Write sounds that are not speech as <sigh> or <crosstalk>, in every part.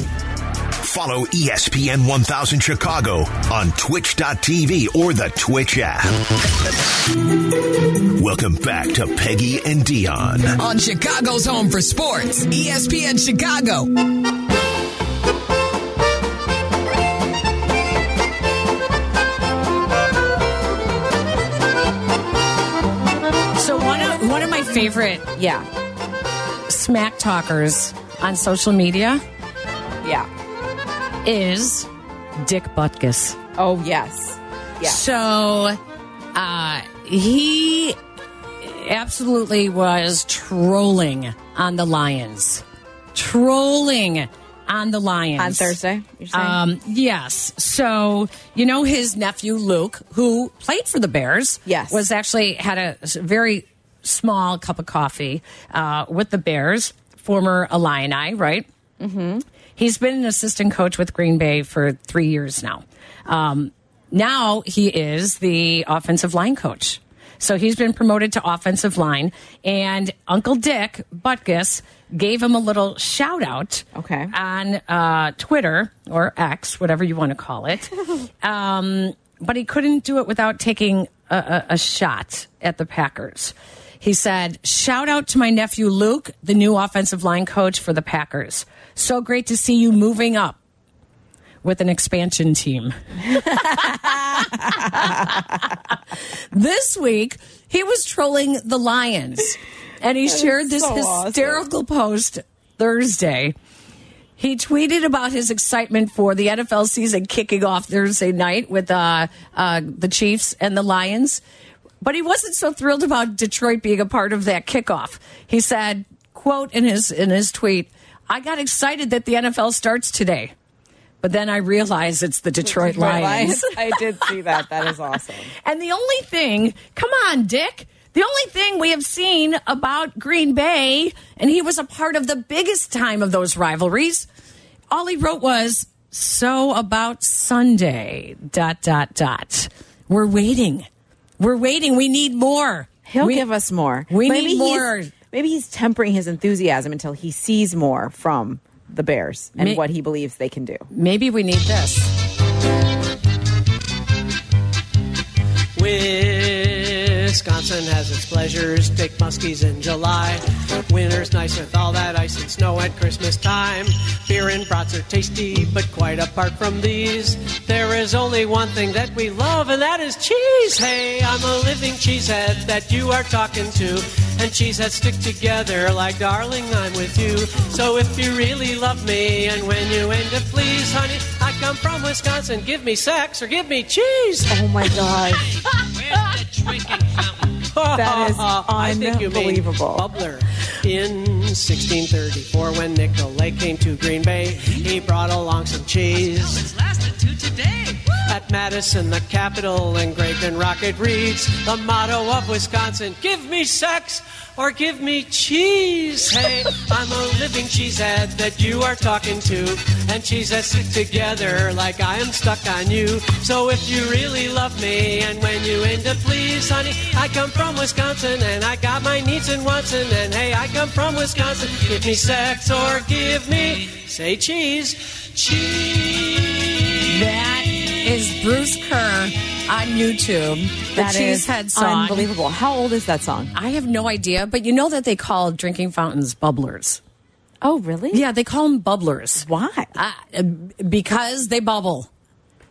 Follow E ESPN 1000 Chicago on twitch.tv or the Twitch app. Welcome back to Peggy and Dion. on Chicago's Home for Sports, E ESPN Chicago. So one of one of my favorite Yeah. smack talkers on social media Yeah. is Dick Butkus. Oh, yes. Yeah. So uh, he absolutely was trolling on the Lions. Trolling on the Lions. On Thursday, you're saying? Um, yes. So, you know, his nephew Luke, who played for the Bears, Yes. was actually had a s- very small cup of coffee uh, with the Bears, former Illini, right? Mm-hmm. He's been an assistant coach with Green Bay for three years now. Um, now he is the offensive line coach. So he's been promoted to offensive line, and Uncle Dick Butkus gave him a little shout out Okay. on uh, Twitter or X, whatever you want to call it. um, but he couldn't do it without taking a, a, a shot at the Packers. He said, Shout out to my nephew Luke, the new offensive line coach for the Packers. So great to see you moving up with an expansion team. <laughs> this week, he was trolling the Lions and he shared this so awesome. hysterical post Thursday. He tweeted about his excitement for the NFL season kicking off Thursday night with uh, uh, the Chiefs and the Lions. But he wasn't so thrilled about Detroit being a part of that kickoff. He said, quote in his in his tweet, I got excited that the NFL starts today. But then I realized it's the Detroit, My Lions. <laughs> lies. I did see that. That is awesome. And the only thing, come on, Dick. The only thing we have seen about Green Bay, and he was a part of the biggest time of those rivalries, all he wrote was, So about Sunday, dot, dot, dot. We're waiting. We're waiting. We need more. He'll we, give us more. we maybe need he's- more. Maybe he's tempering his enthusiasm until he sees more from the Bears and May- what he believes they can do. Maybe we need this. Wisconsin has its pleasures. Big muskies in July. Winter's nice with all that ice and snow at Christmas time. Beer and brats are tasty, but quite apart from these, there is only one thing that we love, and that is cheese. Hey, I'm a living cheesehead that you are talking to. And cheeseheads stick together like darling, I'm with you. So if you really love me, and when you end up, please, honey, I come from Wisconsin. Give me sex or give me cheese. Oh my gosh. That is <laughs> I think you mean unbelievable. Bubbler. In 1634, when Nicolay came to Green Bay, he brought along some cheese. At Madison, the capital, and Grayton Rocket reads the motto of Wisconsin Give me sex or give me cheese. Hey, I'm a living cheesehead that you are talking to, and cheeseheads stick together like I am stuck on you. So if you really love me, and when you end up, please, honey, I come from Wisconsin, and I got my needs and wants, and, and hey, I come from Wisconsin. Give me sex or give me, say cheese, cheese. That is Bruce Kerr on YouTube. The That is Cheesehead song. unbelievable. How old is that song? I have no idea, but you know that they call drinking fountains bubblers. Oh, really? Yeah, they call them bubblers. Why? Uh, because they bubble.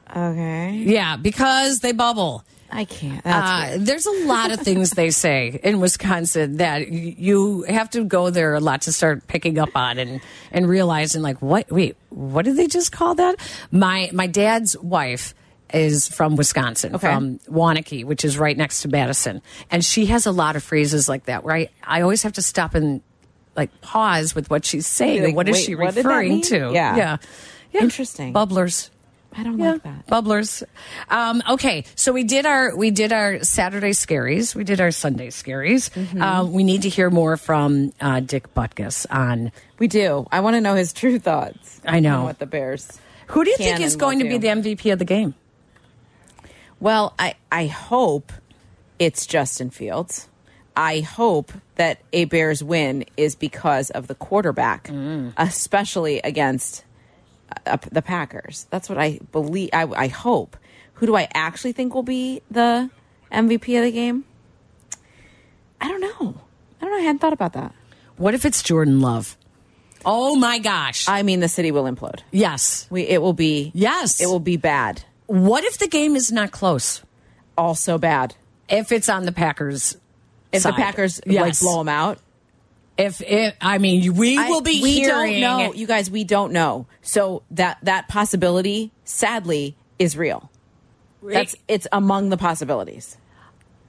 Okay. Yeah, because they bubble. I can't. That's Uh, there's a lot of things they say in Wisconsin that y- you have to go there a lot to start picking up on and and realizing like what wait what did they just call that? My my dad's wife is from Wisconsin Okay. from Wanakee, which is right next to Madison, and she has a lot of phrases like that. Where I I always have to stop and like pause with what she's saying Like, and what is wait, she what did that referring mean? to? Yeah. yeah, yeah. Interesting. Bubblers. I don't Yeah, like that. bubblers. Um, okay, so we did our we did our Saturday scaries. We did our Sunday scaries. Mm-hmm. Uh, we need to hear more from uh, Dick Butkus on We do. I want to know his true thoughts. I know. on What the Bears. who do you Can think is and going to will be the do. MVP of the game? Well, I, I hope it's Justin Fields. I hope that a Mm. Bears win is because of the quarterback, especially against uh, the Packers. That's what I believe. I, I hope. Who do I actually think will be the MVP of the game? I don't know. I don't know. I hadn't thought about that. What if it's Jordan Love? Oh my gosh. I mean, the city will implode. yes. We it will be Yes. It will be bad. What if the game is not close? Also bad. If it's on the Packers. If side. the Packers like Yes. blow them out, If it, I mean, we I- will be we hearing. don't know. You guys, we don't know. So that that possibility, sadly, is real. That's it's among the possibilities.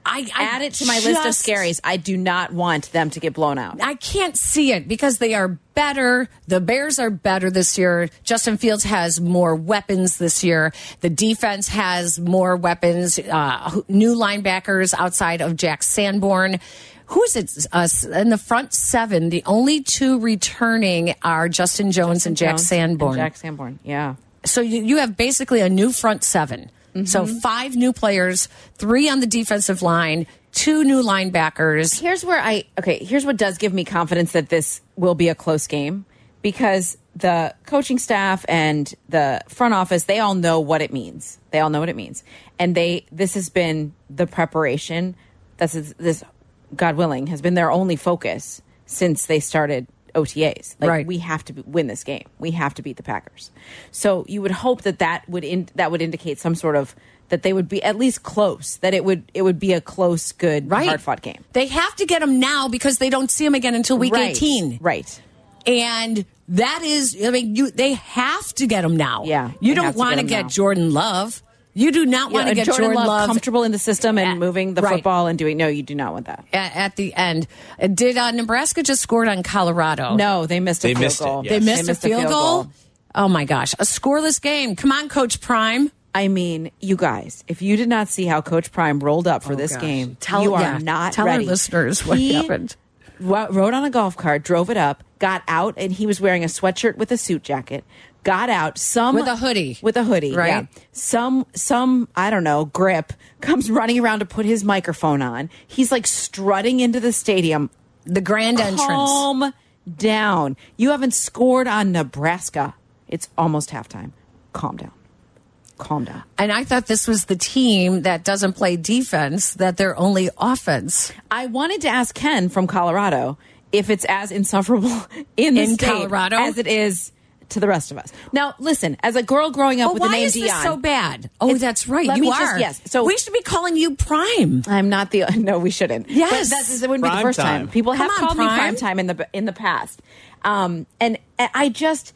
I, I Add it to my list of just- scaries. I do not want them to get blown out. I can't see it because they are better. The Bears are better this year. Justin Fields has more weapons this year. The defense has more weapons. Uh, who- new linebackers outside of Jack Sanborn. Who's it? Us in the front seven. The only two returning are Justin Jones and Jack Jones and Sanborn. Jack Sanborn. Yeah. so you, you have basically a new front 7 So five new players, three on the defensive line, two new linebackers. Here's where I okay. Here's what does give me confidence that this will be a close game because the coaching staff and the front office they all know what it means. They all know what it means, and they this has been the preparation. That's this, God willing, has been their only focus since they started OTAs. Like Right. we have to be- win this game. We have to beat the Packers. So you would hope that that would in, that would indicate some sort of that they would be at least close. That it would it would be a close, good, Right. hard fought game. They have to get him now because they don't see him again until week right. 18. Right. And that is, I mean, you they have to get him now. Yeah, You they don't have to want get to 'em get now. Jordan Love. You do not want to Yeah, get Jordan, Love, comfortable in the system and Yeah, moving the right. football and doing. No, you do not want that. a- at, the end. Uh, Did uh, Nebraska just scored on Colorado? No, they missed a They field missed it, goal. yes. They missed, a field, goal? Oh my gosh. A scoreless game. Come on, Coach Prime. I mean, you guys, if you did not see how Coach Prime rolled up for this Oh, gosh. game, Tell- you are yeah, not tell our ready. listeners what He happened. wa- Rode on a golf cart, drove it up, got out, and he was wearing a sweatshirt with a suit jacket. Got out some With a hoodie. with a hoodie, Right. yeah. Some some I don't know grip comes running around to put his microphone on. He's like strutting into the stadium, The grand Oh. entrance. Calm down. You haven't scored on Nebraska. It's almost halftime. Calm down. Calm down. And I thought this was the team that doesn't play defense, that they're only offense. I wanted to ask Ken from Colorado if it's as insufferable <laughs> in, the In state Colorado? as it is to the rest of us. Now, listen, as a girl growing up But with the Oh, why name is this Dion- so bad? Oh, It's- that's right. let You me are. just- yes. So- we should be calling you Prime. I'm not the. <laughs> No, we shouldn't. Yes. But that's, it wouldn't be the Prime first time. time. People Come have on, called me Prime. prime time in the in the past, um, and and I just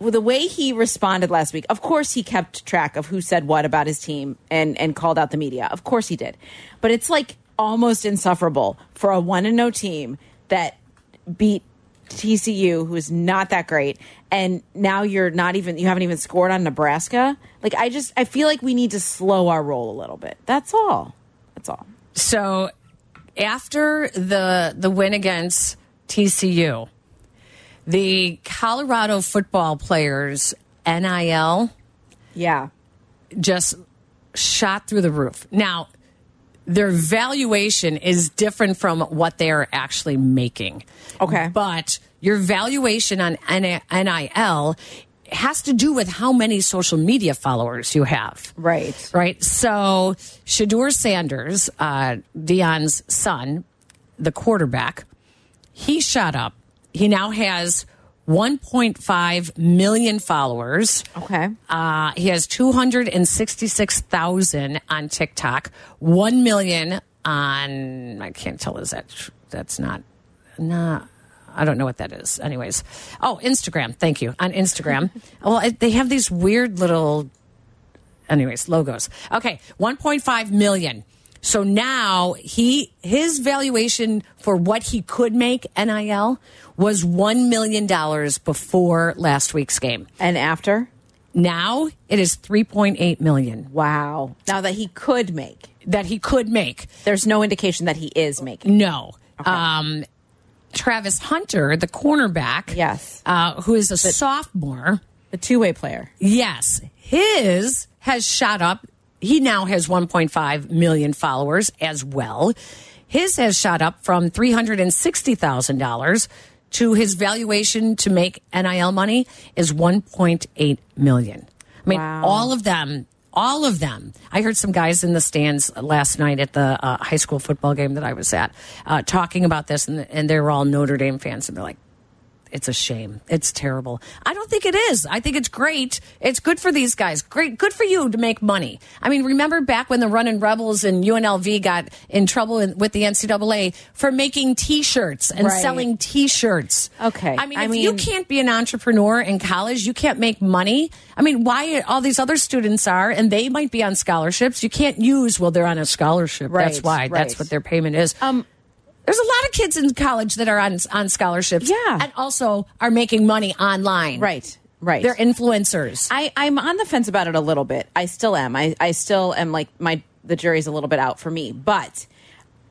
well, the way he responded last week. Of course, he kept track of who said what about his team and and called out the media. Of course, he did. But it's like almost insufferable for a one and no team that beat TCU, who is not that great, and now you're not even you haven't even scored on Nebraska. Like I just I feel like we need to slow our roll a little bit. That's all. That's all. So after the the win against TCU, the Colorado football players NIL Yeah. just shot through the roof. Now, their valuation is different from what they are actually making. Okay. But your valuation on NIL has to do with how many social media followers you have. Right. Right. So Shadur Sanders, uh, Dion's son, the quarterback, he shot up. He now has 1.5 million followers. Okay. Uh, he has 266,000 on TikTok, 1 million on, I can't tell, is that, that's not, nah, I don't know what that is. Anyways. Oh, Instagram. Thank you. On Instagram. well, it, they have these weird little, anyways, logos. Okay. 1.5 million. So now he, his valuation for what he could make NIL was $1 million before last week's game. and after? Now it is 3.8 million Wow. Now that he could make. that he could make. There's no indication that he is making. No. Um, Travis Hunter, the cornerback, Yes. uh, who is a sophomore, The two way player. yes, his has shot up. He now has 1.5 million followers as well. His has shot up from $360,000 to his valuation to make NIL money is 1.8 million. I mean, Wow. all of them, all of them. I heard some guys in the stands last night at the uh, high school football game that I was at uh, talking about this, and, and they were all Notre Dame fans, and they're like, it's a shame. It's terrible. I don't think it is. I think it's great. It's good for these guys. Great. Good for you to make money. I mean, remember back when the Runnin' Rebels and UNLV got in trouble in, with the NCAA for making T-shirts and Right. selling T-shirts. Okay. I mean, I if you mean- can't be an entrepreneur in college, you can't make money. I mean, why all these other students are, and they might be on scholarships. You can't use. Well, they're on a scholarship. That's Right, why. That's right. what their payment is. Um, There's a lot of kids in college that are on on scholarships. Yeah. And also are making money online. Right, right. They're influencers. I, I'm on the fence about it a little bit. I still am. I, I still am like my the jury's a little bit out for me. But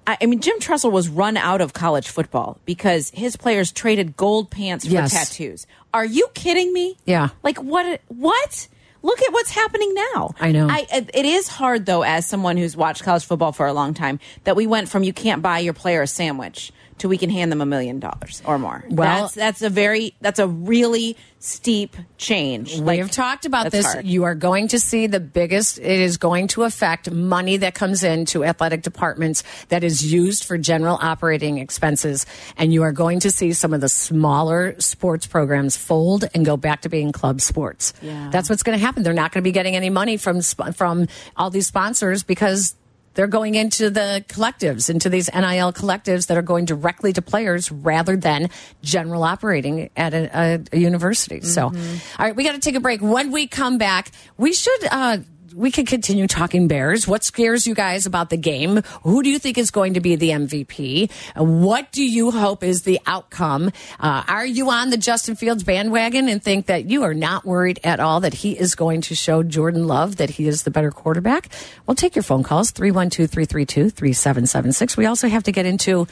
I, I mean Jim Tressel was run out of college football because his players traded gold pants for Yes. tattoos. Are you kidding me? Yeah. Like what what? Look at what's happening now. I know. I, it is hard though, as someone who's watched college football for a long time, that we went from you can't buy your player a sandwich to we can hand them a million dollars or more. Well- that's, that's a very that's a really steep change. we Like, have talked about that's this. hard. You are going to see the biggest, it is going to affect money that comes into athletic departments that is used for general operating expenses. And you are going to see some of the smaller sports programs fold and go back to being club sports. Yeah. That's what's going to happen. They're not going to be getting any money from, sp- from all these sponsors because they're going into the collectives, into these NIL collectives that are going directly to players rather than general operating at a, a, a university. So, all right, we got to take a break. When we come back, we should. Uh, we could continue talking bears. What scares you guys about the game? Who do you think is going to be the MVP? Uh, What do you hope is the outcome? Uh, are you on the Justin Fields bandwagon and think that you are not worried at all that he is going to show Jordan Love that he is the better quarterback? We'll take your phone calls 312 332 3776. We also have to get into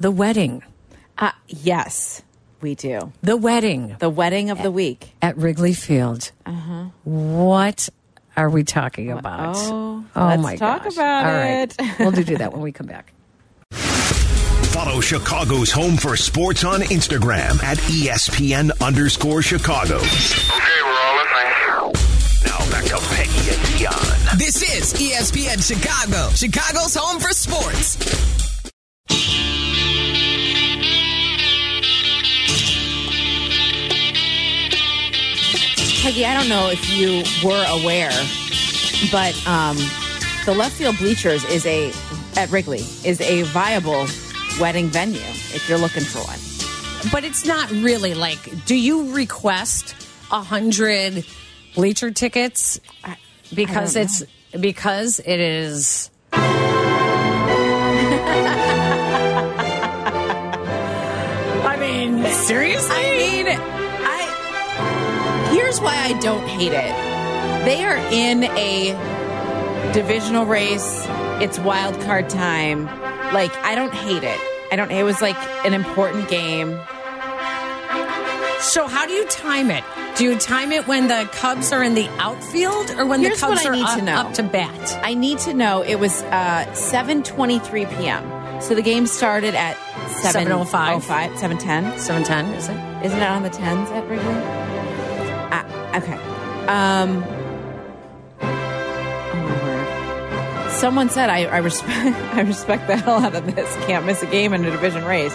the wedding, Uh, yes, we do. the wedding The wedding of the week. at Wrigley Field. Uh-huh. What are we talking about? Oh, let's talk about All right. it. <laughs> we'll do do that when we come back. Follow Chicago's Home for Sports on Instagram at E ESPN underscore Chicago. Okay, we're all listening. Now back to Peggy and Dion. This is E ESPN Chicago, Chicago's home for sports. Peggy, I don't know if you were aware, but um, the left field bleachers is a at Wrigley is a viable wedding venue if you're looking for one. But it's not really like, do you request a hundred bleacher tickets because don't it's because it is I mean, seriously? I mean, I here's why I don't hate it. They are in a divisional race. It's wild card time. Like I don't hate it. I don't. It was like an important game. So how do you time it? Do you time it when the Cubs are in the outfield or when Here's the what Cubs I are need up to know. up to bat? I need to know. It was uh, 7:23 p.m. So the game started at 7:05. 7:10. 710, is it? Isn't it on the tens at Wrigley? Uh, okay. Um, oh my word. Someone said I, I respect <laughs> I respect the hell out of this. Can't miss a game in a division race.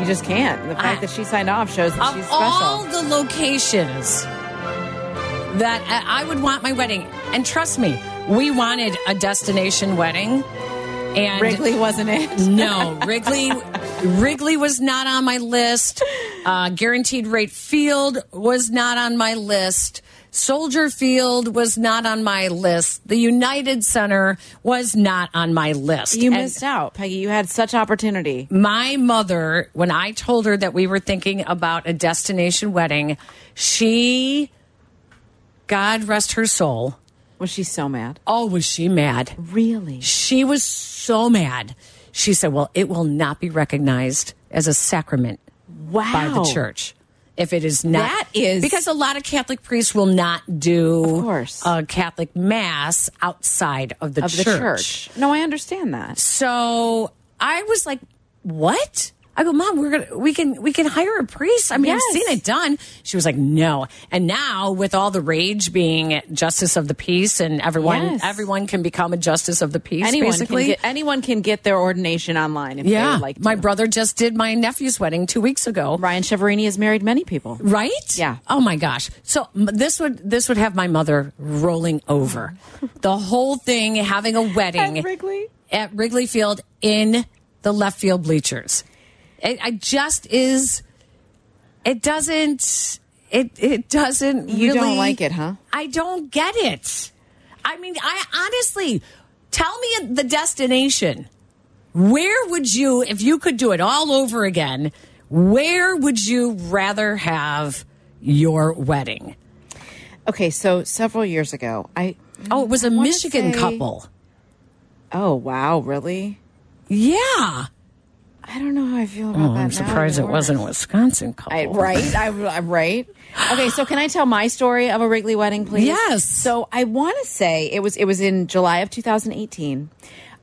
You just can't. And the fact I- that she signed off shows that of she's special. all the locations that I I would want my wedding, and trust me, we wanted a destination wedding, and Wrigley wasn't it? no, Wrigley, Wrigley was not on my list. Uh, guaranteed Rate Field was not on my list. Soldier Field was not on my list. The United Center was not on my list. <laughs> You And- missed out, Peggy. You had such opportunity. my mother, when I told her that we were thinking about a destination wedding, she, God rest her soul, Was she so mad? oh, was she mad. Really? She was so mad. She said, Well, it will not be recognized as a sacrament Wow. by the church. If it is not, That is- because a lot of Catholic priests will not do Of course. a Catholic mass outside of the of the church. church. No, I understand that. So I was like, what? I I go, Mom, we're gonna we can we can hire a priest. I mean, Yes. I've seen it done. She was like, No. And now with all the rage being justice of the peace and everyone Yes. everyone can become a justice of the peace. anyone basically. can get anyone can get their ordination online if they yeah, would like to. my brother just did my nephew's wedding two weeks ago. Ryan Cheverini has married many people. Right? Yeah. Oh my gosh. So m- this would this would have my mother rolling <laughs> over. the whole thing having a wedding At Wrigley? at Wrigley Field in the left field bleachers. It, I just is. It doesn't. It it doesn't. You don't really- like it, huh? I don't get it. I mean, I honestly tell me the destination. Where would you, if you could do it all over again, where would you rather have your wedding? Okay, so several years ago, I Oh, it was a wanna Michigan say- couple. oh wow, really? Yeah. I don't know how I feel about that. Oh, I'm now surprised it anymore. wasn't a Wisconsin couple. I, right? I, I'm right. Okay, so can I tell my story of a Wrigley wedding, please? Yes. So I want to say it was it was in July of 2018.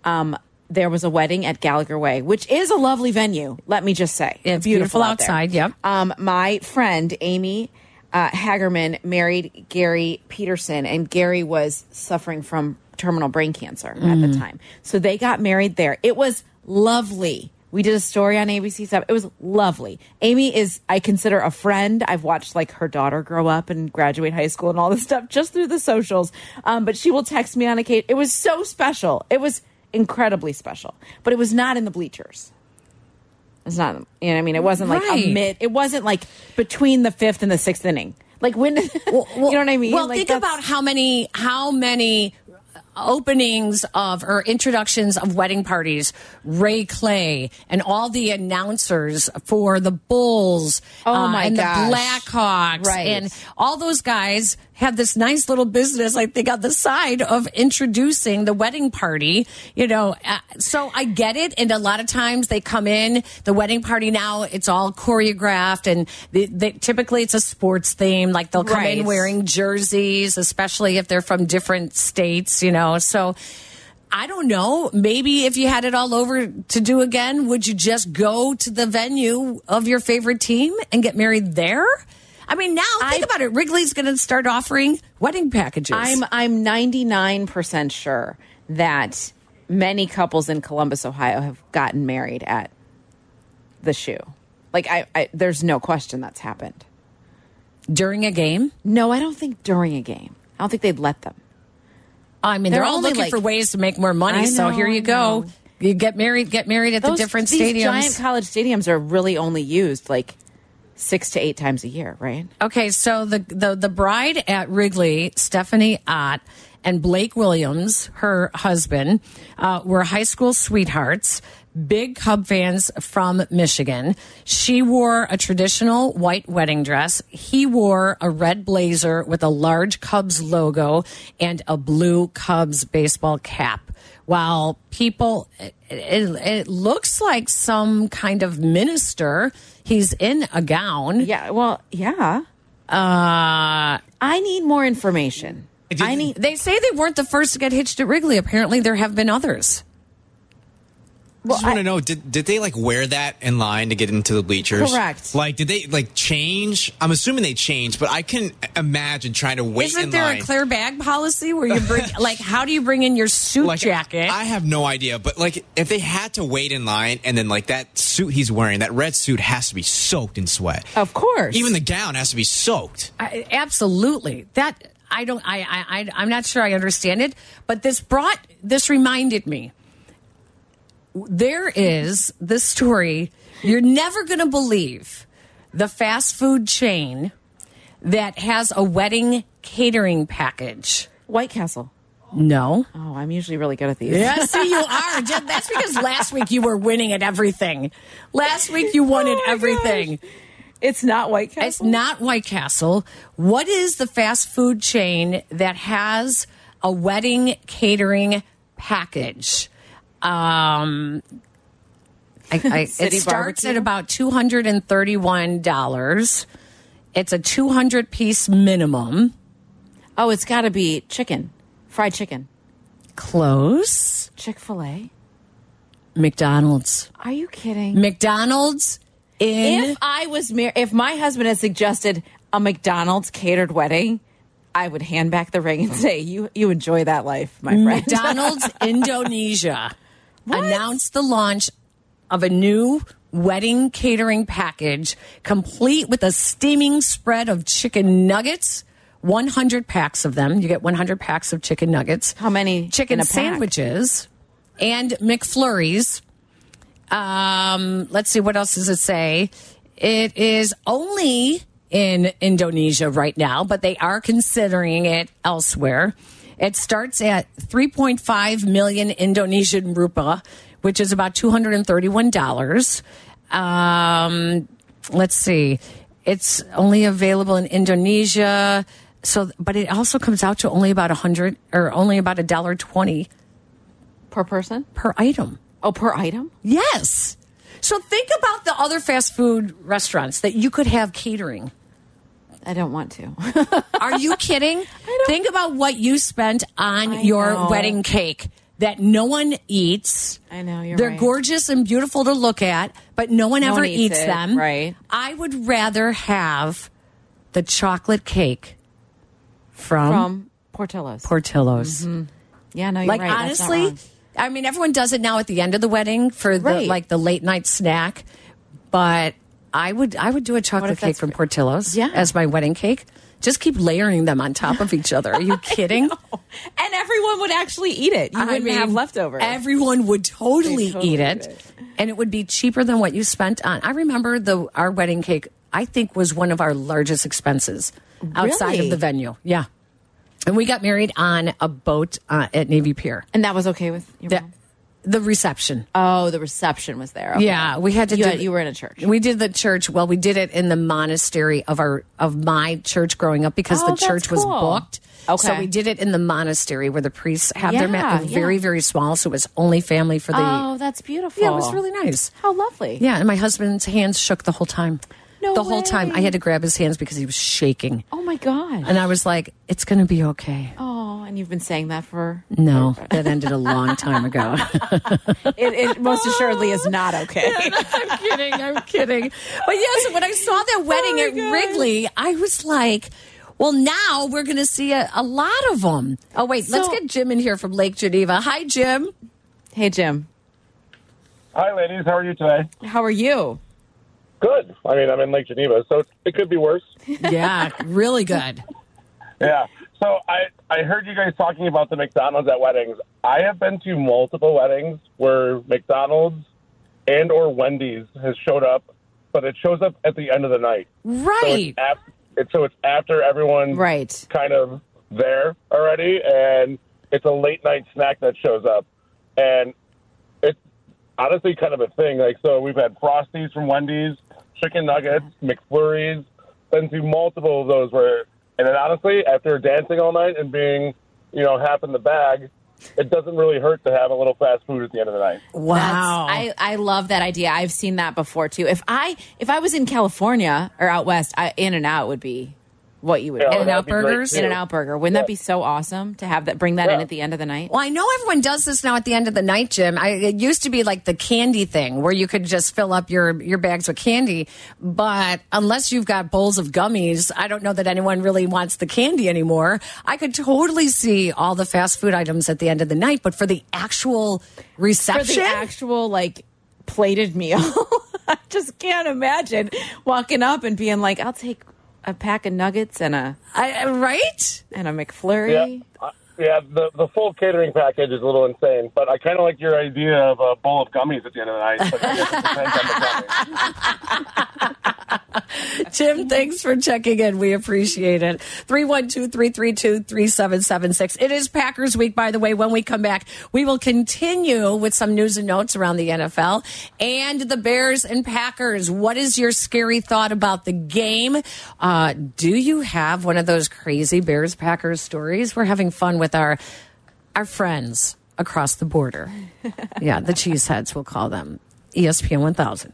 Um, there was a wedding at Gallagher Way, which is a lovely venue. Let me just say, It's beautiful out there. outside, yep. Um, my friend Amy uh, Hagerman married Gary Peterson, and Gary was suffering from terminal brain cancer at Mm. the time. So they got married there. It was lovely. We did a story on ABC Seven. It was lovely. Amy is I consider a friend. I've watched like her daughter grow up and graduate high school and all this stuff just through the socials. Um, but she will text me on occasion. It was so special. It was incredibly special. But it was not in the bleachers. It's not, you know, what I mean, it wasn't like Right. a mid, it wasn't like between the fifth and the sixth inning. Like when, <laughs> you know what I mean? Well, Like, think that's- about how many how many openings of or introductions of wedding parties. Ray Clay and all the announcers for the Bulls, uh, Oh my and gosh. the Blackhawks, Right. and all those guys have this nice little business like they got the side of introducing the wedding party you know uh, so i get it and a lot of times they come in the wedding party now it's all choreographed and they, they, typically it's a sports theme like they'll come Right. in wearing jerseys especially if they're from different states you know so I don't know. Maybe if you had it all over to do again, would you just go to the venue of your favorite team and get married there? I mean, now think about it. Wrigley's going to start offering wedding packages. I'm, I'm 99% sure that many couples in Columbus, Ohio have gotten married at the shoe. Like I, I there's no question that's happened. during a game. No, I don't think during a game. I don't think they'd let them. I mean, they're, They're all only looking like- for ways to make more money. I so know, here you I go. know. You get married. Get married at the different these stadiums. giant college stadiums are really only used like six to eight times a year, right? Okay, so the the the bride at Wrigley, Stephanie Ott, and Blake Williams, her husband, uh, were high school sweethearts, big Cub fans from Michigan. She wore a traditional white wedding dress. He wore a red blazer with a large Cubs logo and a blue Cubs baseball cap. While people, it, it, it looks like some kind of minister. He's in a gown. Yeah. Well, yeah. Uh, I need more information. I need. they say they weren't the first to get hitched at Wrigley. Apparently, there have been others. I just want to know did did they like wear that in line to get into the bleachers? Correct. Like, did they like change? I'm assuming they changed, but I can imagine trying to wait Isn't in there line. a clear bag policy where you <laughs> bring, like, how do you bring in your suit like, jacket? I have no idea, but like if they had to wait in line and then like that suit he's wearing, that red suit has to be soaked in sweat. Oh. Of course. Even the gown has to be soaked. I- absolutely. That I don't. I, I. I. I'm not sure I understand it. But this brought. This reminded me. There is this story you're never going to believe. The fast food chain that has a wedding catering package. White Castle. No. Oh, I'm usually really good at these. Yeah, see, you are. Jen, That's because last week you were winning at everything. Last week you won at Oh my everything. It's not White Castle. It's not White Castle. What is the fast food chain that has a wedding catering package? Um, I, I, it <laughs> City starts barbecue? at about two hundred and thirty-one dollars. It's a two hundred piece minimum. Oh, it's got to be chicken, fried chicken, Close. Chick Fil A. McDonald's. Are you kidding? McDonald's in If I was mar- if my husband had suggested a McDonald's catered wedding, I would hand back the ring and say, "You you enjoy that life, my friend." <laughs> McDonald's Indonesia announced the launch of a new wedding catering package complete with a steaming spread of chicken nuggets. 100 packs of them. You get 100 packs of chicken nuggets. How many Chicken in a pack? sandwiches and McFlurries. Um, let's see, what else does it say? It is only in Indonesia right now, but they are considering it elsewhere. It starts at 3.5 million Indonesian rupiah, which is about $231. Um, let's see. It's only available in Indonesia. So, but it also comes out to only about a hundred or only about a dollar twenty per person? per item. Oh, per item? Yes. So think about the other fast food restaurants that you could have catering. I don't want to. Um, Are <laughs> you kidding? think about what you spent on I your know. wedding cake that no one eats. I know, you're They're right. gorgeous and beautiful to look at, but no one No ever one eats eats, it, them. right. I would rather have the chocolate cake from, From Mm-hmm. Portillo's. Portillo's. yeah, no, you're Like right. That's not honestly, wrong. I mean, everyone does it now at the end of the wedding for the Right. like the late night snack, but I would I would do a chocolate cake that's from fr- Portillo's Yeah. as my wedding cake. Just keep layering them on top of each other. Are <laughs> you kidding? and everyone would actually eat it. You I wouldn't mean, have leftovers. Everyone would totally, They'd totally eat, it, eat it. and it would be cheaper than what you spent on. I remember the our wedding cake. I think was one of our largest expenses outside Really? of the venue. Yeah, and we got married on a boat uh, at Navy Pier. and that was okay with your The, mom? the reception. Oh, the reception was there. Okay. Yeah, we had to You do. had- you were in a church. We did the church. Well, we did it in the monastery of our of my church growing up because Oh, the that's church was cool. booked. So Okay. we did it in the monastery where the priests have their mat. Yeah, yeah. Very very small, so it was only family for the. Oh, that's beautiful. yeah, it was really nice. How lovely. Yeah, and my husband's hands shook the whole time. No the whole time I way. had to grab his hands because he was shaking, Oh my god. and I was like, "It's going to be okay." oh, and you've been saying that for No, that ended a long time ago. <laughs> it, it most assuredly is not <laughs> okay. I'm kidding. I'm kidding. But yes, when I saw that wedding Oh my at God. Wrigley, I was like, well, now we're going to see a, a lot of them. Oh, wait, let's So- get Jim in here from Lake Geneva. Hi, Jim. Hey Jim, Hi, ladies. How are you today? how are you? Good. I mean, I'm in Lake Geneva, so it could be worse. Yeah, really good. <laughs> Yeah. So I, I heard you guys talking about the McDonald's at weddings. I have been to multiple weddings where McDonald's and or Wendy's has showed up, but it shows up at the end of the night. So <laughs> Right. it's, af- it's, so it's after everyone Right. kind of there already, and it's a late night snack that shows up, and it's honestly kind of a thing. Like so, we've had Frosties from Wendy's, chicken nuggets, McFlurries, been through multiple of those where, and then honestly, after dancing all night and being, you know, half in the bag. It doesn't really hurt to have a little fast food at the end of the night. wow. That's- I, I love that idea. I've seen that before too. If I if I was in California or out west, I, In and Out would be what you would Yeah, that'd In In-N-Out be great, burgers? too. and Out Burger. Wouldn't that be so awesome to have that bring that in Yeah. at the end of the night? well, I know everyone does this now at the end of the night, Jim. I, it used to be like the candy thing where you could just fill up your, your bags with candy. But unless you've got bowls of gummies, I don't know that anyone really wants the candy anymore. I could totally see all the fast food items at the end of the night, but for the actual for reception, the actual like plated meal. <laughs> I just can't imagine walking up and being like, "I'll take a pack of nuggets and a I, right? and a Yeah, McFlurry." uh, yeah. The the full catering package is a little insane, but I kind of like your idea of a bowl of gummies at the end of the night. But I guess it depends on the gummies. Jim, thanks for checking in. We appreciate it. 312 332 3776. It is Packers week, by the way. When we come back, we will continue with some news and notes around the NFL and the Bears and Packers. What is your scary thought about the game? Uh, do you have one of those crazy Bears Packers stories? We're having fun with our our friends across the <laughs> border. yeah, the E cheeseheads, we'll call them. ESPN 1000.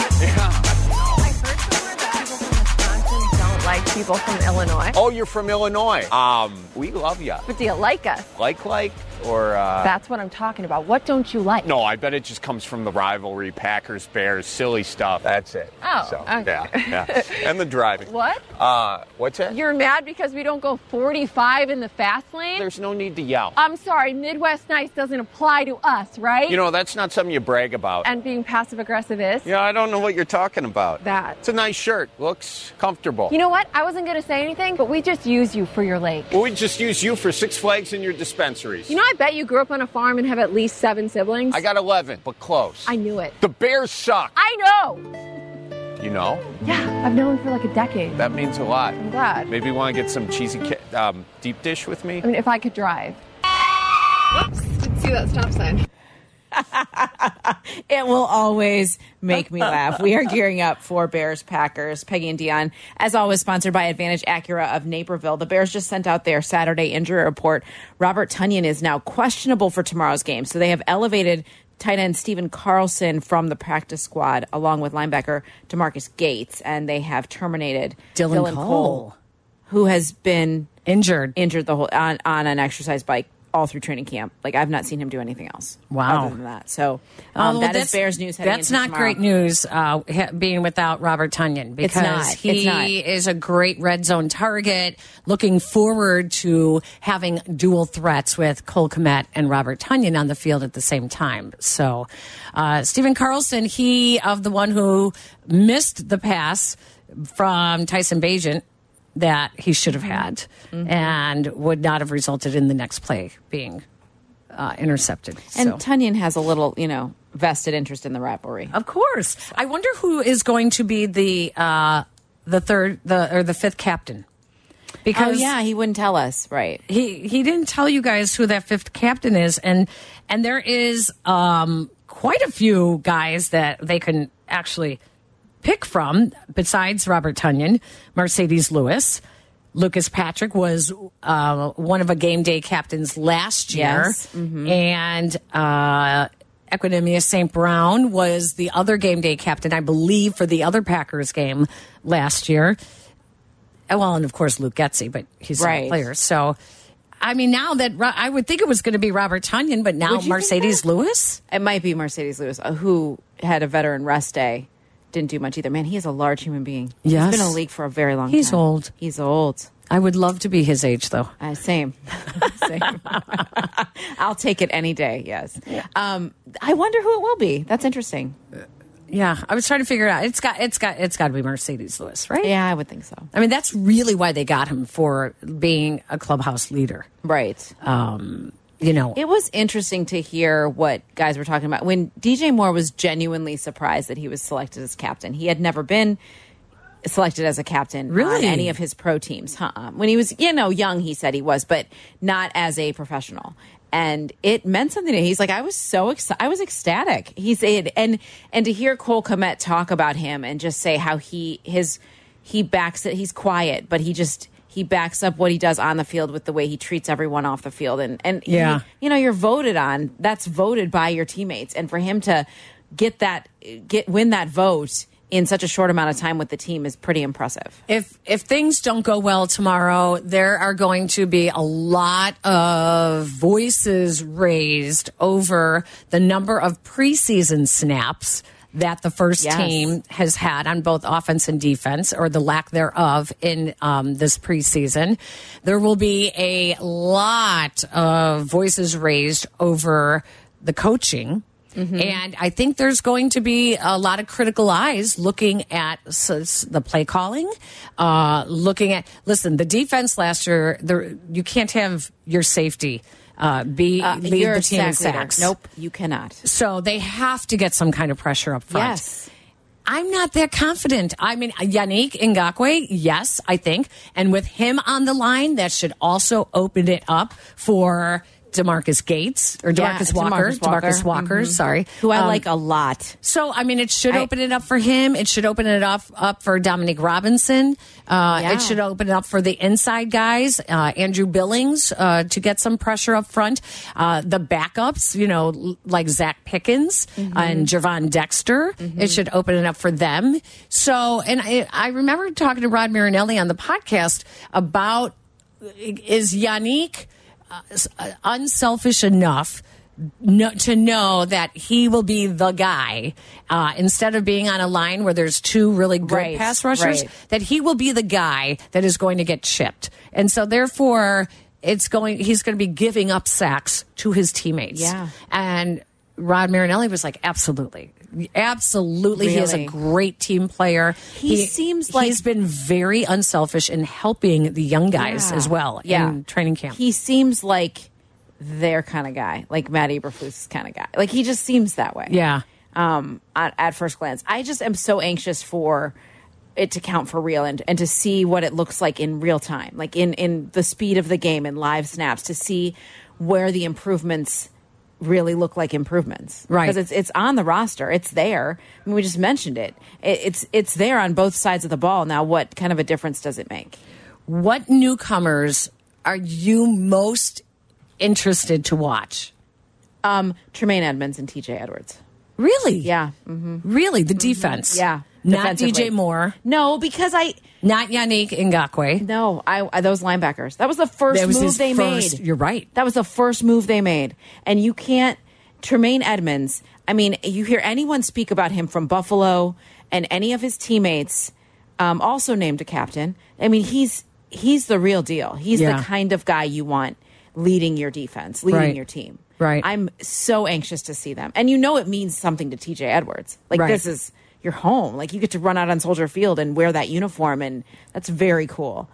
I heard somewhere that people from Wisconsin don't like people from Illinois. Oh, you're from Illinois. Um, we love you. But do you like us? Like, like, or uh, That's what I'm talking about. What don't you like? no? I bet it just comes from the rivalry, Packers, Bears, silly stuff. That's it. Oh, So, okay. yeah, <laughs> yeah. And the driving. What? Uh, what's that? You're mad because we don't go 45 in the fast lane? There's no need to yell. I'm sorry, Midwest Nights doesn't apply to us, right? you know, that's not something you brag about. and being passive aggressive is? Oh. yeah, I don't know what you're talking about. That. It's a nice shirt. Looks comfortable. You know what? I wasn't going to say anything, but we just use you for your lake. Well, we just use you for Six Flags and your dispensaries. You know, I bet you grew up on a farm and have at least seven siblings. I got 11, but close. I knew it. The Bears suck. I know. you know, Yeah, I've known for like a decade. that means a lot. I'm glad. Maybe you want to get some cheesy ca- um, deep dish with me? I mean, if I could drive. Whoops, didn't see that stop sign. It will always make me laugh. We are gearing up for Bears Packers. Peggy and Dion, as always, sponsored by Advantage Acura of Naperville. The Bears just sent out their Saturday injury report. Robert Tunyon is now questionable for tomorrow's game, so they have elevated tight end Steven Carlson from the practice squad, along with linebacker Demarcus Gates, and they have terminated Dylan Cole. who has been Injured. injured the whole on, on an exercise bike all through training camp. Like I've not seen him do anything else. Wow. Other than that, so um, Oh, that is that's- Bears news. Heading That's into not tomorrow. great news. Uh, ha- being without Robert Tunyon because not. It's he not. is a great red zone target. Looking forward to having dual threats with Cole Komet and Robert Tunyon on the field at the same time. So, uh, Stephen Carlson, he of the one who missed the pass from Tyson Bajent that he should have had Mm-hmm. and would not have resulted in the next play being uh, intercepted. And So- Oh, Tunyon has a little, you know, vested interest in the rivalry. of course. I wonder who is going to be the uh, the third the or the fifth captain. Oh Because yeah, he wouldn't tell us, right? he he didn't tell you guys who that fifth captain is and and there is um quite a few guys that they can actually pick from besides Robert Tunyon, Mercedes Lewis. Lucas Patrick was uh, one of a game day captains last year, Yes. and uh, Equinemius St. Brown was the other game day captain, I believe, for the other Packers game last year. Uh, Well, and of course Luke Getzey, but he's not a Right. player. So, I mean, now that Ro- I would think it was going to be Robert Tunyon, but now Would you think Mercedes that? Lewis. It might be Mercedes Lewis, uh, who had a veteran rest day, didn't do much either. Man, he is a large human being. Yes. he's been in the league for a very long He's time. old. He's old. I would love to be his age, though. Uh, same. <laughs> same. I'll take it any day. Yes. Um, I wonder who it will be. That's interesting. Yeah, I was trying to figure it out. It's got it's got it's got to be Mercedes Lewis, right? Yeah, I would think so. I mean, that's really why they got him for being a clubhouse leader. Um, Right. You know, It was interesting to hear what guys were talking about when DJ Moore was genuinely surprised that he was selected as captain. He had never been selected as a captain on Really? any of his pro teams. Uh-uh. When he was, you know, young, he said he was, but not as a professional. And it meant something to him. He's like, I was so excited. I was ecstatic. He said, and and to hear Cole Komet talk about him and just say how he his he backs it. He's quiet, but he just he backs up what he does on the field with the way he treats everyone off the field. And and he- Yeah. you know, you're voted on. That's voted by your teammates, and for him to get that get win that vote in such a short amount of time with the team is pretty impressive. if if things don't go well tomorrow, there are going to be a lot of voices raised over the number of preseason snaps that the first Yes. team has had on both offense and defense, or the lack thereof in um, this preseason. There will be a lot of voices raised over the coaching. And I think there's going to be a lot of critical eyes looking at s- s- the play calling, uh, looking at listen the defense last year. There, you can't have your safety uh, be lead You're the a team in sack leader. sacks. Nope, you cannot. So they have to get some kind of pressure up front. Yes. I'm not that confident. I mean, Yannick Ngakwe, yes, I think. And with him on the line, that should also open it up for DeMarcus Gates or Yeah, DeMarcus Walker. DeMarcus Walker. DeMarcus Walker, Mhm. sorry. who I Um, like a lot. So, I mean, it should I- open it up for him. It should open it up, up for Dominic Robinson. Uh, Yeah. It should open it up for the inside guys, uh, Andrew Billings, uh, to get some pressure up front. Uh, the backups, you know, l- like Zach Pickens Mm-hmm. and Javon Dexter. It should open it up for them. So, and I, I remember talking to Rod Marinelli on the podcast about uh, is Yannick uh, s- uh, unselfish enough no, to know that he will be the guy uh, instead of being on a line where there's two really good Right, pass rushers, right. that he will be the guy that is going to get chipped, and so therefore it's going. He's going to be giving up sacks to his teammates. Yeah. and Rod Marinelli was like, absolutely. Absolutely, he is a Really? great team player. He seems like- he's been very unselfish in helping the young guys Yeah. as well Yeah. in training camp. He seems like their kind of guy, like Matt Eberflus' kind of guy. Like he just seems that way. yeah. Um, at, at first glance, I just am so anxious for it to count for real and, and to see what it looks like in real time, like in in the speed of the game and live snaps, to see where the improvements really look like improvements. Right. Because it's it's on the roster. It's there. I mean, we just mentioned it. it. It's it's there on both sides of the ball. Now, what kind of a difference does it make? What newcomers are you most interested to watch? Um, Tremaine Edmonds and T.J. Edwards. Really? Yeah. mm-hmm. Really? The defense? Yeah. Mm-hmm. Not Defensively. DJ Moore, No, because I not Yannick Ngakwe. no, I, I those linebackers. That was the first That was move his they first- made. you're right. That was the first move they made, and you can't Tremaine Edmonds. I mean, you hear anyone speak about him from Buffalo and any of his teammates, um, also named a captain. I mean, he's he's the real deal. He's Yeah. the kind of guy you want leading your defense, leading Right. your team. Right. I'm so anxious to see them, and you know it means something to T.J. Edwards. Like Right. this is your home. Like you get to run out on Soldier Field and wear that uniform, and that's very cool.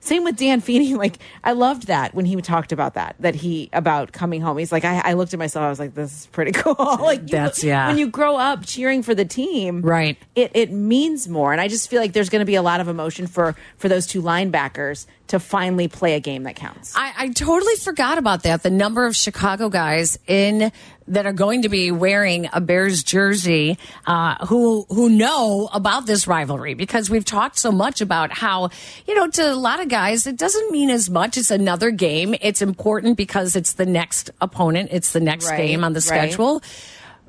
Same with Dan Feeney. <laughs> Like I loved that when he talked about that, that he about coming home. He's like, I, I looked at myself. I was like, this is pretty <laughs> cool. like you- That's- yeah. When you grow up cheering for the team, Right. It it means more, and I just feel like there's going to be a lot of emotion for for those two linebackers to finally play a game that counts. I, I totally forgot about that. The number of Chicago guys in that are going to be wearing a Bears jersey uh, who who know about this rivalry because we've talked so much about how you know to a lot of guys it doesn't mean as much. It's another game. It's important because it's the next opponent. It's the next Right, game on the right. schedule.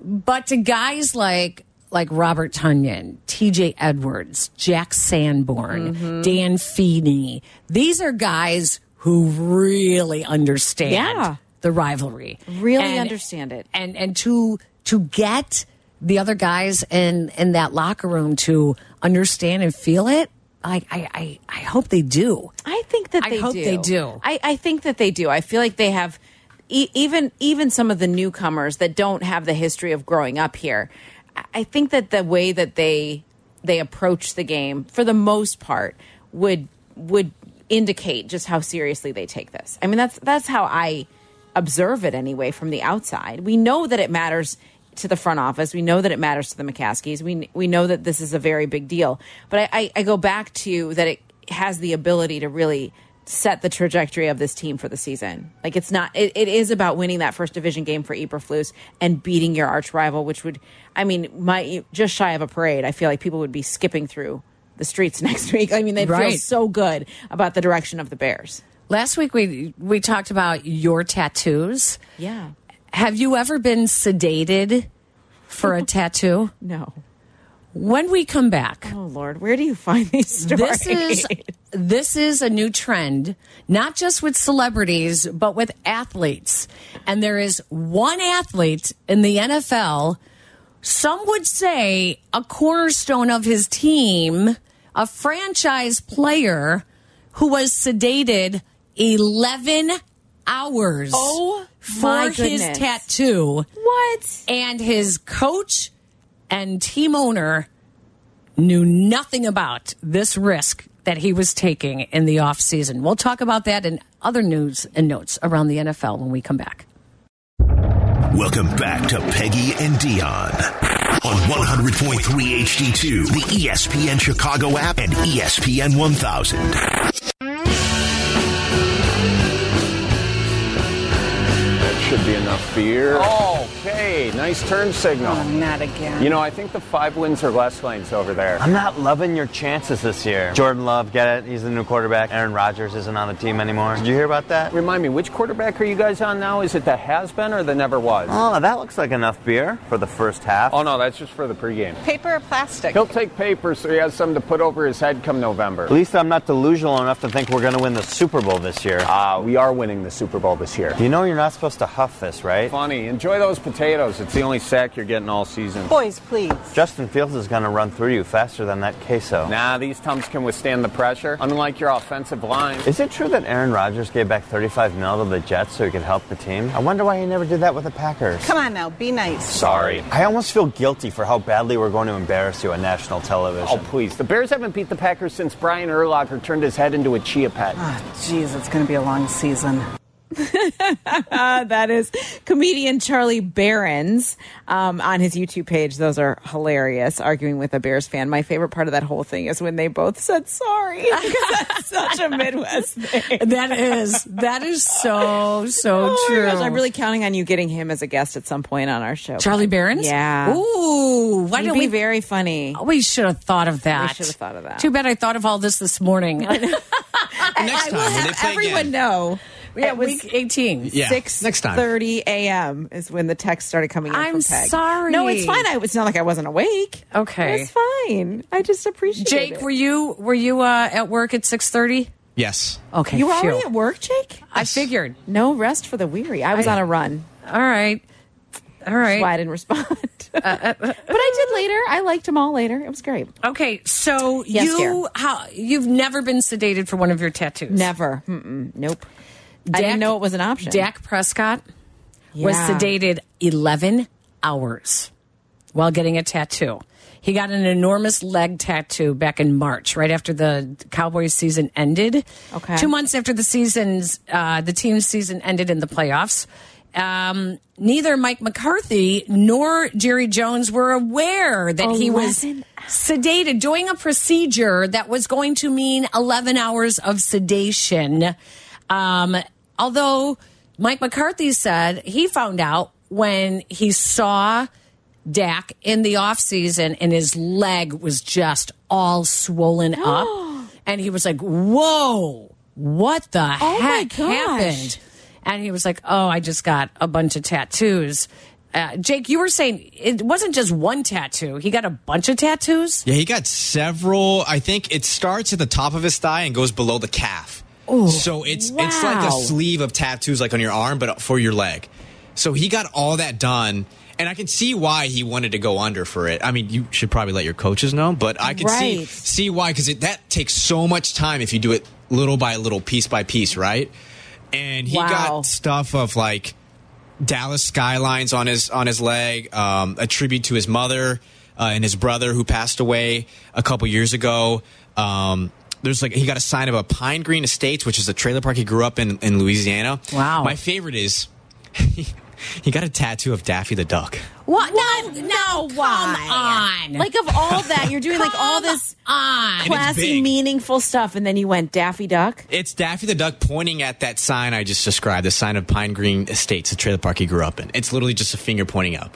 But to guys like like Robert Tunyon, TJ Edwards, Jack Sanborn, Dan Feeney, these are guys who really understand Yeah. the rivalry. Really understand it. And and to to get the other guys in in that locker room to understand and feel it, like I I, I hope they do. I think that I they hope do. they do. I, I think that they do. I feel like they have e even even some of the newcomers that don't have the history of growing up here. I- I think that the way that they they approach the game for the most part would would indicate just how seriously they take this. I mean that's that's how I observe it anyway from the outside. We know that it matters to the front office. We know that it matters to the McCaskies. We we know that this is a very big deal. But I, I, I go back to that it has the ability to really set the trajectory of this team for the season. Like it's not it, it is about winning that first division game for Eberflus and beating your arch rival, which would I mean, my just shy of a parade. I feel like people would be skipping through the streets <laughs> next week. I mean, they'd feel Right. so good about the direction of the Bears. Last week we we talked about your tattoos. Yeah. Have you ever been sedated for <laughs> a tattoo? No. When we come back, <laughs> Oh Lord, where do you find these stories? this is this is a new trend, not just with celebrities, but with athletes. And there is one athlete in the NFL, some would say a cornerstone of his team, a franchise player who was sedated 11 hours Oh, my for his goodness. tattoo what? and his coach and team owner knew nothing about this risk that he was taking in the offseason. We'll talk about that and other news and notes around the NFL when we come back. Welcome back to Peggy and Dion. on 100.3 HD2, the E ESPN Chicago app, and E ESPN 1000. That should be enough beer. Okay, nice turn signal. not again. You know, I think the five wins or less lanes over there. I'm not loving your chances this year. Jordan Love, get it? He's the new quarterback. Aaron Rodgers isn't on the team anymore. Did you hear about that? Remind me, which quarterback are you guys on now? Is it the has been or the never was? Oh, that looks like enough beer for the first half. Oh, no, that's just for the pregame. Paper or plastic? He'll take paper so he has something to put over his head come November. At least I'm not delusional enough to think we're going to win the Super Bowl this year. Ah, we are winning the Super Bowl this year. You know you're not supposed to huff this, right? Funny. Enjoy those potatoes. It's the only sack you're getting all season. Boys, please. Justin Fields is going to run through you faster than that queso. Nah, these tums can withstand the pressure, unlike your offensive line. Is it true that Aaron Rodgers gave back 35 mil to the Jets so he could help the team? I wonder why he never did that with the Packers. Come on now, be nice. Sorry. I almost feel guilty for how badly we're going to embarrass you on national television. Oh, please. The Bears haven't beat the Packers since Brian Urlacher turned his head into a chia pet. Jeez, it's going to be a long season. Uh, that is comedian Charlie Barons um, on his YouTube page. Those are hilarious. Arguing with a Bears fan. My favorite part of that whole thing is when they both said sorry <laughs> because that's such a Midwest <laughs> thing. That is that is so so Oh my true. gosh, I'm really counting on you getting him as a guest at some point on our show. Charlie Barron's? Yeah. Ooh, why He'd don't be we? very funny. we should have thought of that. should've thought of that. Too bad I thought of all this this <laughs> morning. next I time will when they have play everyone again. know. At it was week 18. Yeah. six Next time. thirty a.m. is when the text started coming in. I'm from Peg. sorry. No, it's fine. I, it's not like I wasn't awake. Okay. it's fine. I just appreciate it. Jake, were you were you uh, at work at 6:30? Yes. Okay. You were phew. already at work, Jake? I figured. No rest for the weary. I was on a run. All right. All right. Uh, That's why I <laughs> didn't respond. but I did later. I liked them all later. It was great. Okay, so Yes, you dear. how you've never been sedated for one of your tattoos. Never. Mm-mm. Nope. I Dak- didn't know it was an option. Dak Prescott was Yeah. sedated 11 hours while getting a tattoo. He got an enormous leg tattoo back in March, right after the Cowboys season ended. Okay. Two months after the season's uh, the team's season ended in the playoffs. Um, neither Mike McCarthy nor Jerry Jones were aware that he was 11 sedated doing a procedure that was going to mean 11 hours of sedation. Um, although Mike McCarthy said he found out when he saw Dak in the offseason and his leg was just all <gasps> swollen up. And he was like, whoa, what the Oh my heck gosh. happened? And he was like, oh, I just got a bunch of tattoos. Uh, Jake, you were saying it wasn't just one tattoo. He got a bunch of tattoos. Yeah, he got several. I think it starts at the top of his thigh and goes below the calf. so it's it's like a wow. sleeve of tattoos, like on your arm, but for your leg. So he got all that done, and I can see why he wanted to go under for it. I mean, you should probably let your coaches know, but I can see Right. see why because that takes so much time if you do it little by little, piece by piece, right? And he Wow. got stuff of like Dallas skylines on his on his leg, um, a tribute to his mother uh, and his brother who passed away a couple years ago. Um, there's like he got a sign of a Pine Green Estates, which is a trailer park he grew up in in Louisiana. Wow. My favorite is <laughs> he got a tattoo of Daffy the Duck. What? No, no, why? Come on. Like of all that, you're doing like all Come this on. it's classy, big. meaningful stuff, and then you went Daffy Duck. It's Daffy the Duck pointing at that sign I just described, the sign of Pine Green Estates, the trailer park he grew up in. It's literally just a finger pointing up.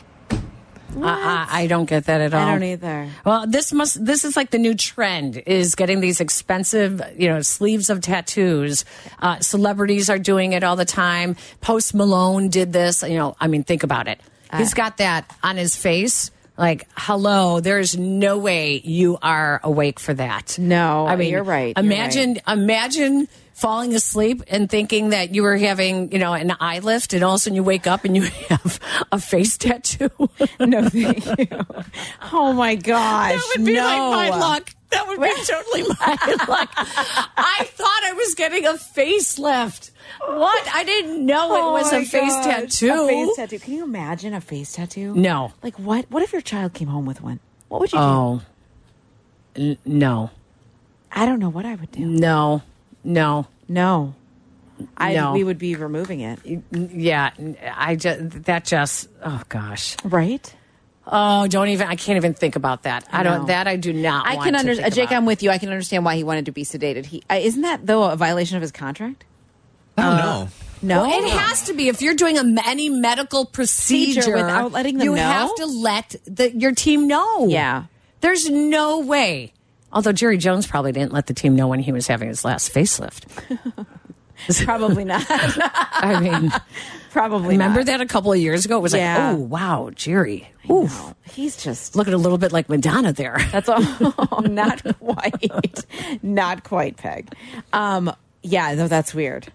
I, I I don't get that at all. I don't either. Well, this must this is like the new trend is getting these expensive, you know, sleeves of tattoos. Uh, celebrities are doing it all the time. Post Malone did this. You know, I mean, think about it. Uh. He's got that on his face. Like, hello, there's no way you are awake for that. No, I mean, you're right, you're Imagine, imagine falling asleep and thinking that you were having, you know, an eye lift, and all of a sudden you wake up and you <laughs> have a face tattoo. No, thank you. <laughs> Oh my gosh. That would be no. like my luck. That would be totally my <laughs> luck. I thought I was getting a facelift. What? I didn't know Oh it was a my face gosh. tattoo. A face tattoo. Can you imagine a face tattoo? No. Like what? What if your child came home with one? What would you Oh. N- no. do? I don't know what I would do. No. No. No. I No. we would be removing it. Yeah, n- I just that just oh gosh. Right? Oh, don't even. I can't even think about that. I don't. No. That I do not. I want can to understand, think Jake. about. I'm with you. I can understand why he wanted to be sedated. He uh, isn't that though a violation of his contract? I don't know. No, Well, it has to be if you're doing a, me- any medical procedure, Procedure without letting them You know? have to let the, your team know. Yeah. there's no way. Although Jerry Jones probably didn't let the team know when he was having his last facelift. <laughs> probably not. I mean, <laughs> probably. remember not. that a couple of years ago? It was Yeah. like, oh wow, Jerry. Oof, He's just looking a little bit like Madonna there. That's <laughs> all. <laughs> not quite. not quite, Peg. Um, yeah, though that's weird.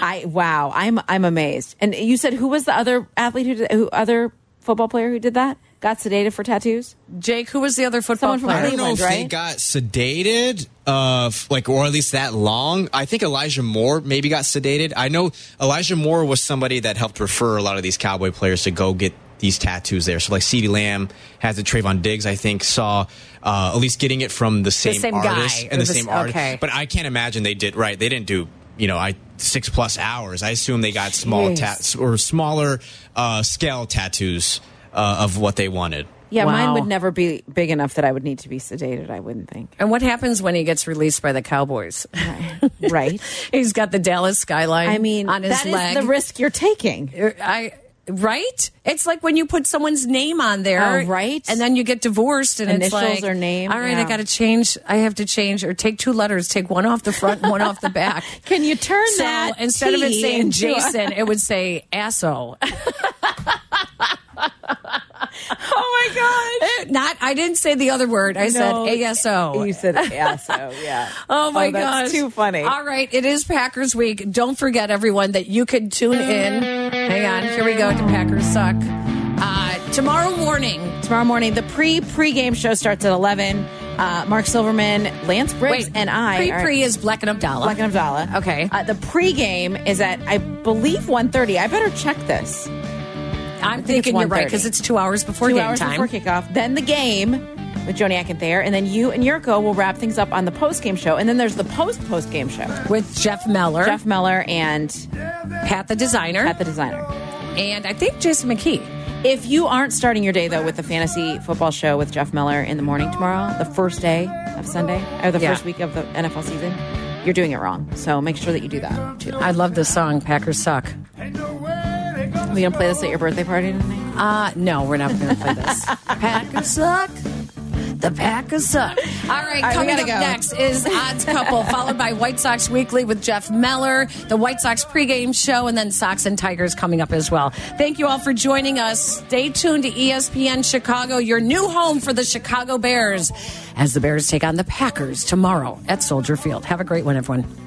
I wow, I'm I'm amazed. And you said who was the other athlete who did, who other football player who did that? Got sedated for tattoos? Jake, who was the other football Someone from player? I don't know Cleveland, if they right? got sedated, uh, f- like or at least that long. I think Elijah Moore maybe got sedated. I know Elijah Moore was somebody that helped refer a lot of these Cowboy players to go get these tattoos there. So like Ceedee Lamb has it. Trayvon Diggs, I think, saw uh, at least getting it from the same, same guy, artist or and the, the s- same artist. okay. But I can't imagine they did right. They didn't do you know I six plus hours. I assume they got small Jeez. tats or smaller uh, scale tattoos uh, of what they wanted. Yeah, mine Wow. would never be big enough that I would need to be sedated, I wouldn't think. And what happens when he gets released by the Cowboys? Right? <laughs> He's got the Dallas skyline. I mean, on his that is leg. the risk you're taking. I right? It's like when you put someone's name on there, Oh, right. And then you get divorced, and it's Initials like, or name, All right, I yeah. got to change. I have to change or take two letters, take one off the front, and one off the back. <laughs> Can you turn So that instead of it T saying into a- Jason, it would say Asso. Oh my <laughs> gosh. Not, I didn't say the other word. I said No. ASO. You said ASO, yeah. <laughs> Oh my gosh. that's too funny. All right, it is Packers week. Don't forget everyone that you can tune in. Hang on, here we go to Packers Suck. Uh, tomorrow morning. tomorrow morning. The pre pre game show starts at eleven. Uh, Mark Silverman, Lance Briggs, Wait, and I. Pre are- pre is Black and Abdallah. Black and Abdallah. Okay. Uh, the pregame is at I believe 1.30. I better check this. I'm think it's thinking you're right 1:30. because it's two hours before Two game hours time. before kickoff. Then the game with Joni Akinfair, and then you and Yurko will wrap things up on the post game show, and then there's the post post game show. with Jeff Meller, Jeff Meller and Pat the designer, at the designer. and I think Jason McKee. If you aren't starting your day though with the fantasy football show with Jeff Miller in the morning tomorrow, the first day of Sunday or the Yeah. first week of the NFL season, you're doing it wrong. So make sure that you do that too. I love this song, Packers Suck. Are we gonna play this at your birthday party tonight? Uh, no, we're not going to play <laughs> this. Packers suck. The Packers suck. All right, All right, we coming gotta up go. next is Odds Couple, followed by White Sox Weekly with Jeff Meller, the White Sox pregame show, and then Sox and Tigers coming up as well. Thank you all for joining us. Stay tuned to E ESPN Chicago, your new home for the Chicago Bears, as the Bears take on the Packers tomorrow at Soldier Field. Have a great one, everyone.